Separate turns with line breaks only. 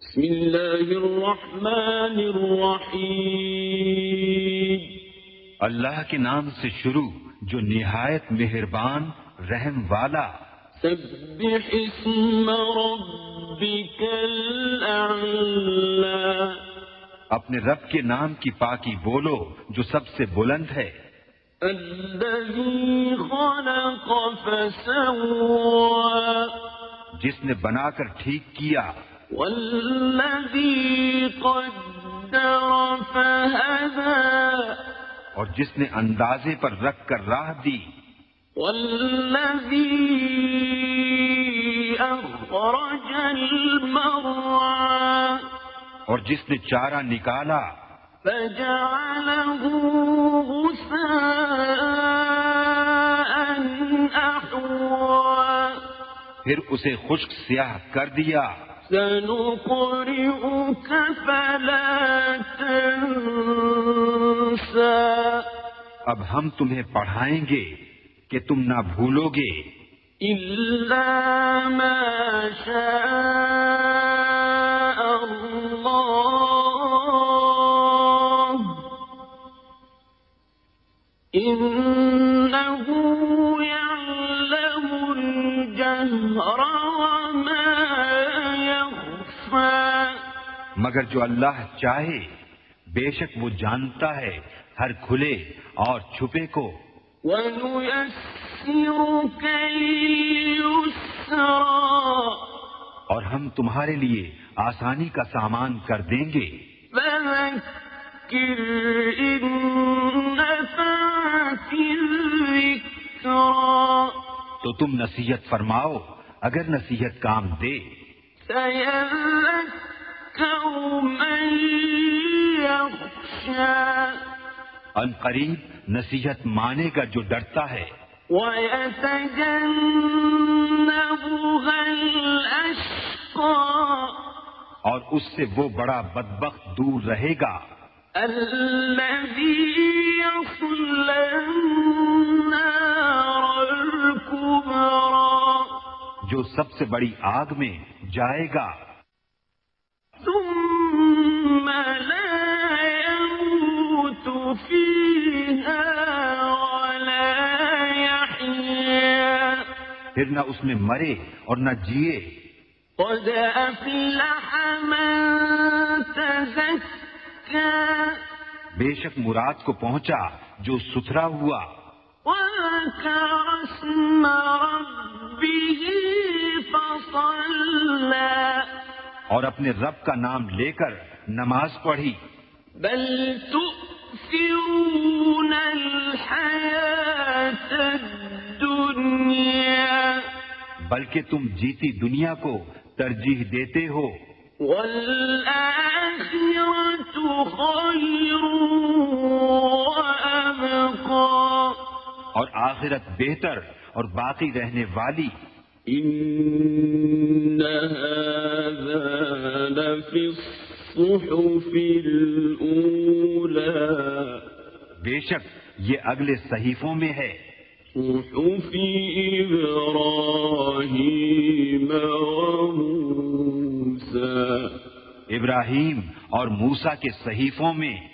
بسم الله الرحمन الرحيم
अल्लाह के नाम से शुरू जो निहायत मेहरबान रहम वाला
سبح اسم ربك الأعلى
अपने रब के नाम की पाकी बोलो जो सबसे बुलंद है
الذي خلق فسوى
जिसने बनाकर ठीक किया
والذي قدر فهدى
और जिसने अंदाजे पर रख कर राह दी
والذي أخرج المرعى
और जिसने चारा निकाला
فجعله غثاء أحوى
फिर उसे खुश्क स्याह कर दिया
سنقرئك فلا تنسى
अब हम तुम्हें पढ़ाएंगे कि तुम ना भूलोगे
إلا ما شاء الله إنه يعلم الجهر وما يخفى
मगर जो अल्लाह चाहे बेशक वो जानता है हर खुले और छुपे को
ونيسرك لليسرى
और हम तुम्हारे लिए आसानी का सामान कर देंगे
فذكر إن نفعت الذكرى
तो तुम नसीहत फरमाओ अगर नसीहत काम दे
سيذكر من يخشى
अनकरीब नसीहत मानेगा जो डरता है
ويتجنبها الأشقى
और उससे वो बड़ा बदबख्त दूर रहेगा
الذي يصلى النار الكبرى
जो सबसे बड़ी आग में जाएगा
ثم لا يموت فيها ولا يحيا
फिर न उसमें मरे और न जिए
قد أفلح من تزكى
बेशक मुराद को पहुंचा जो सुथरा हुआ
وذكر اسم ربه فصلى
और अपने रब का नाम लेकर नमाज पढ़ी
بل تؤثرون الحياة الدنيا
बल्कि तुम जीती दुनिया को तरजीह देते हो
والآخرة خير وأبقى
और आखिरत बेहतर और बाकी रहने वाली
إن هذا لفي الصحف الأولى
बेशक ये अगले सहीफों में है
صحف إبراهيم وموسى
इब्राहिम और मूसा के सहीफों में